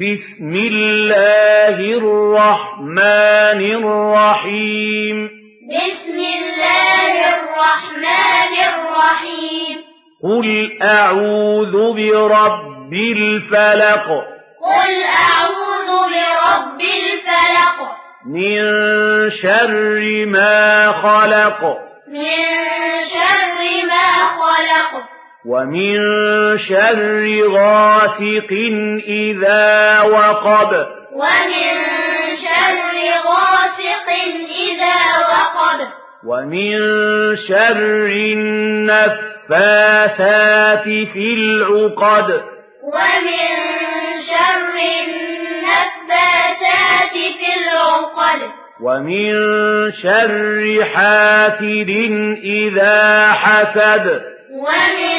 بسم الله الرحمن الرحيم بسم الله الرحمن الرحيم قل أعوذ برب الفلق قل أعوذ برب الفلق من شر ما خلق من شر ما خلق ومن شر غاسق إذا وقب ومن شر غاسق إذا وقب ومن شر النفاثات في العقد ومن شر النفاثات في العقد ومن شر حاسد إذا حسد ومن